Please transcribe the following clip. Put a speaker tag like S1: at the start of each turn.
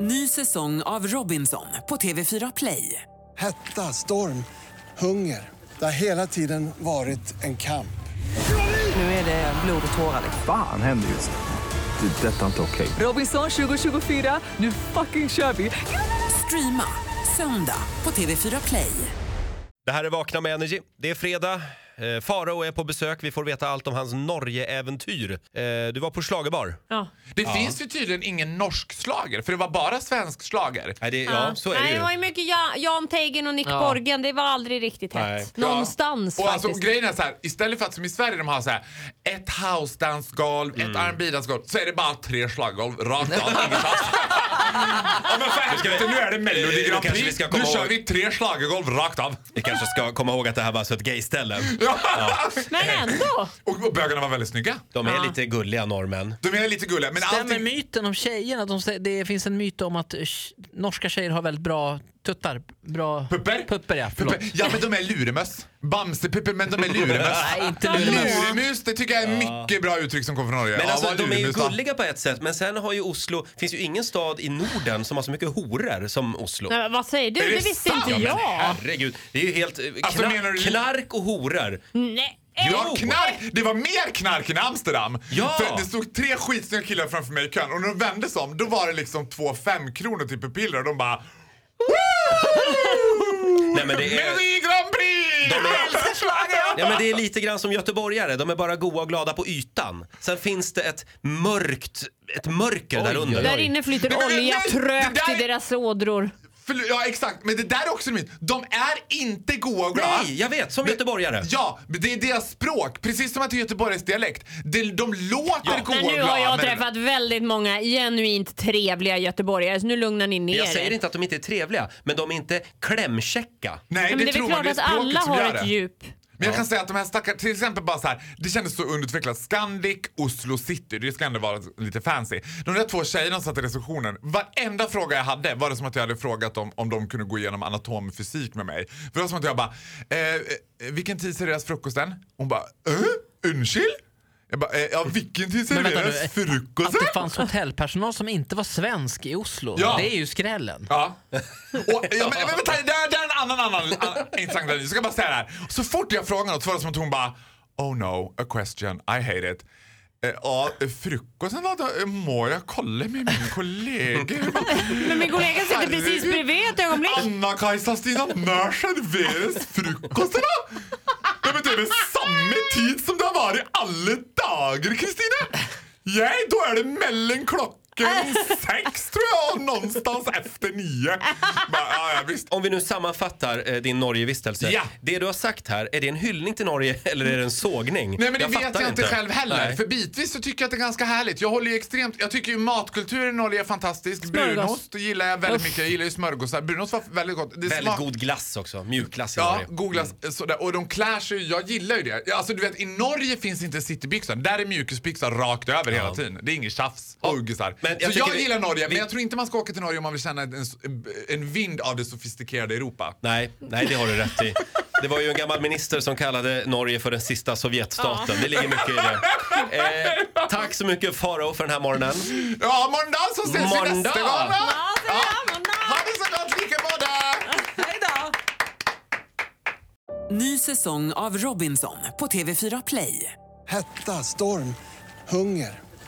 S1: Ny säsong av Robinson på TV4 Play.
S2: Hetta, storm, hunger. Det har hela tiden varit en kamp.
S1: Nu är det blod och tårar. liksom.
S3: Fan händer just nu. Det. är Detta är inte okej.
S1: Robinson 2024, nu fucking kör vi! Streama söndag på TV4 Play.
S4: Det här är Vakna med Energy. Det är fredag. Eh, Farao är på besök. Vi får veta allt om hans Norge-äventyr. Eh, du var på schlagerbar.
S5: Det finns ju tydligen ingen norsk slager för det var bara svensk slager.
S4: Nej, det, ja, så är det
S6: Nej,
S4: ju.
S6: det var ju mycket Ja- Jan Teigen och Nick Borgen. Det var aldrig riktigt hett.
S5: Ja.
S6: Någonstans
S5: och
S6: faktiskt.
S5: alltså, grejen är så här, istället för att som i Sverige de har så här, ett housedansgolv,
S4: Mm.
S5: ett R&B dansgolv så är det bara tre slaggolv rakt av. Inget alls. Ja, men för
S4: ska vi-
S5: helvete, nu är det Melodi
S4: Nu
S5: Grand
S4: kanske vi
S5: Prix.
S4: ska komma
S5: Nu kör
S4: ihåg-
S5: vi tre slaggolv rakt av.
S4: Vi kanske ska komma ihåg att det här var alltså ett gayställe.
S5: Ja.
S6: Men ändå!
S5: Och, och bögarna var väldigt snygga.
S4: De är lite gulliga norrmän.
S5: De är lite gulliga men
S7: Stämmer
S5: allting...
S7: myten om tjejerna? De, sä- det finns en myt om att eh, norska tjejer har väldigt bra tuttar. Bra
S5: Pupper?
S7: Pupper ja, förlåt.
S5: Pupper. Ja men de är luremöss. Bamsepupper men de är luremöss.
S7: Nej, inte lulemus.
S5: Luremus, det tycker jag är mycket bra uttryck som kommer från Norge.
S4: Men
S5: Ja,
S4: alltså,
S5: vad
S4: de är ju
S5: luremus, va?
S4: gulliga på ett sätt, men sen har ju Oslo... finns ju ingen stad i Norden som har så mycket horor som Oslo.
S6: Nej, men vad säger du?
S5: Är
S6: Det,
S5: det
S6: visste
S5: sant?
S6: inte
S4: Men
S6: jag.
S4: herregud, det är ju helt... eh,
S5: Alltså,
S4: knar-
S5: menar du-
S4: Knark och horor.
S6: Nej.
S5: Ja, knark! Det var mer knark än Amsterdam.
S4: Ja.
S5: För det stod tre skitsnygga killar framför mig i kön och när de vände sig om då var det liksom två femkronor till pupiller och de bara
S4: Eh. Nej, men det är...
S5: Melodi Grand Prix!
S4: är-
S5: Älskar slaget!
S4: Ja, men det är lite grann som göteborgare, de är bara goa och glada på ytan. Sen finns det ett mörkt, ett mörker där under.
S6: Där inne flyter
S5: Nej, men-
S6: olja
S5: nej,
S6: trögt
S5: det
S6: i
S5: där-
S6: deras ådror.
S5: Förl- Ja exakt, men det där är också en myt. De är inte goa och glada.
S4: Nej, jag vet, som göteborgare.
S5: Ja, men det är deras språk. Precis som att det är Göteborgs dialekt. De, de låter goa
S6: Men
S5: och
S6: nu
S5: glada.
S6: har jag
S5: men-
S6: träffat väldigt många genuint trevliga göteborgare, så nu lugnar ni ner
S4: Jag säger
S6: er.
S4: inte att de inte är trevliga, men de är inte klämkäcka.
S5: Nej,
S6: Men
S5: det,
S6: det är
S5: tror
S6: väl
S5: man.
S6: klart
S5: Det är
S6: att alla
S5: språket som
S6: har
S5: gör
S6: ett
S5: det.
S6: djup.
S5: Men jag kan säga att de här stackars, till exempel bara så här, det kändes så underutvecklat. Scandic, Oslo city, det ska ändå vara lite fancy. De där två tjejerna som satt i receptionen, varenda fråga jag hade var det som att jag hade frågat om, om de kunde gå igenom anatomfysik med mig. För det var som att jag bara, eh, eh, vilken tid serveras frukosten? Hon bara, eh, unnskyld? Jag bara, eh, ja vilken tid
S7: Men vänta nu, eh,
S5: serveras
S7: Att det
S5: frukosten?
S7: fanns hotellpersonal som inte var svensk i Oslo,
S5: Ja.
S7: det är ju skrällen.
S5: Ja. Och, ja men, men vänta, det är, det är en annan, annan an, intressant grej. Jag ska bara säga det här. Så fort jag frågar något så var det som att hon bara Oh no, a question, I hate it. Eh, Ja, frukosten var då, eh, må jag kolla med min kollega? Jag bara,
S6: Men min kollega sitter precis bredvid ett ögonblick.
S5: Anna-Kajsa Stina Mörsen, veres frukosten då? Ja, men det är väl samma tid som det har varit alla dagar, Kristina? Ja, då är det mellan klockan sex, tror jag, och någonstans efter nio. Bara, ja, ja, visst.
S4: Om vi nu sammanfattar eh, din Norgevistelse.
S5: Ja.
S4: Det du har sagt här, är det en hyllning till Norge eller är det en sågning?
S5: Nej men det vet
S4: fattar
S5: jag inte själv heller.
S4: Nej.
S5: För bitvis så tycker jag att det är ganska härligt. Jag håller ju extremt, jag tycker ju matkulturen i Norge är fantastisk.
S6: Smörgås.
S5: Brunost gillar jag väldigt
S6: Uff.
S5: mycket. Jag gillar ju smörgåsar. Brunost var väldigt gott. Det
S4: Väldigt
S5: smak-
S4: god Mm. glass också, mjukglass i
S5: Ja,
S4: Norge.
S5: googlas sådär. Och de klär sig ju- jag gillar ju det. Ja, Alltså du vet, i Norge finns inte citybyxor. Där är mjukisbyxor rakt över hela tiden. Det är inget tjafs och uggisar.
S4: men jag
S5: Så jag
S4: tycker vi-
S5: gillar Norge,
S4: vi-
S5: men jag tror inte man ska åka till Norge om man vill känna en, en vind av det sofistikerade Europa.
S4: Nej, nej, det har du rätt i. Det var ju en gammal minister som kallade Norge för den sista Sovjetstaten. Det ligger mycket i det. Eh, tack så mycket Farao för den här morgonen.
S5: Ja, måndag så ses vi
S4: Måndag.
S5: nästa gång va?
S6: Ja, det är måndag.
S5: Ha det så gott, lika båda!
S1: Ny säsong av Robinson på TV4 Play.
S2: Hetta, storm, hunger.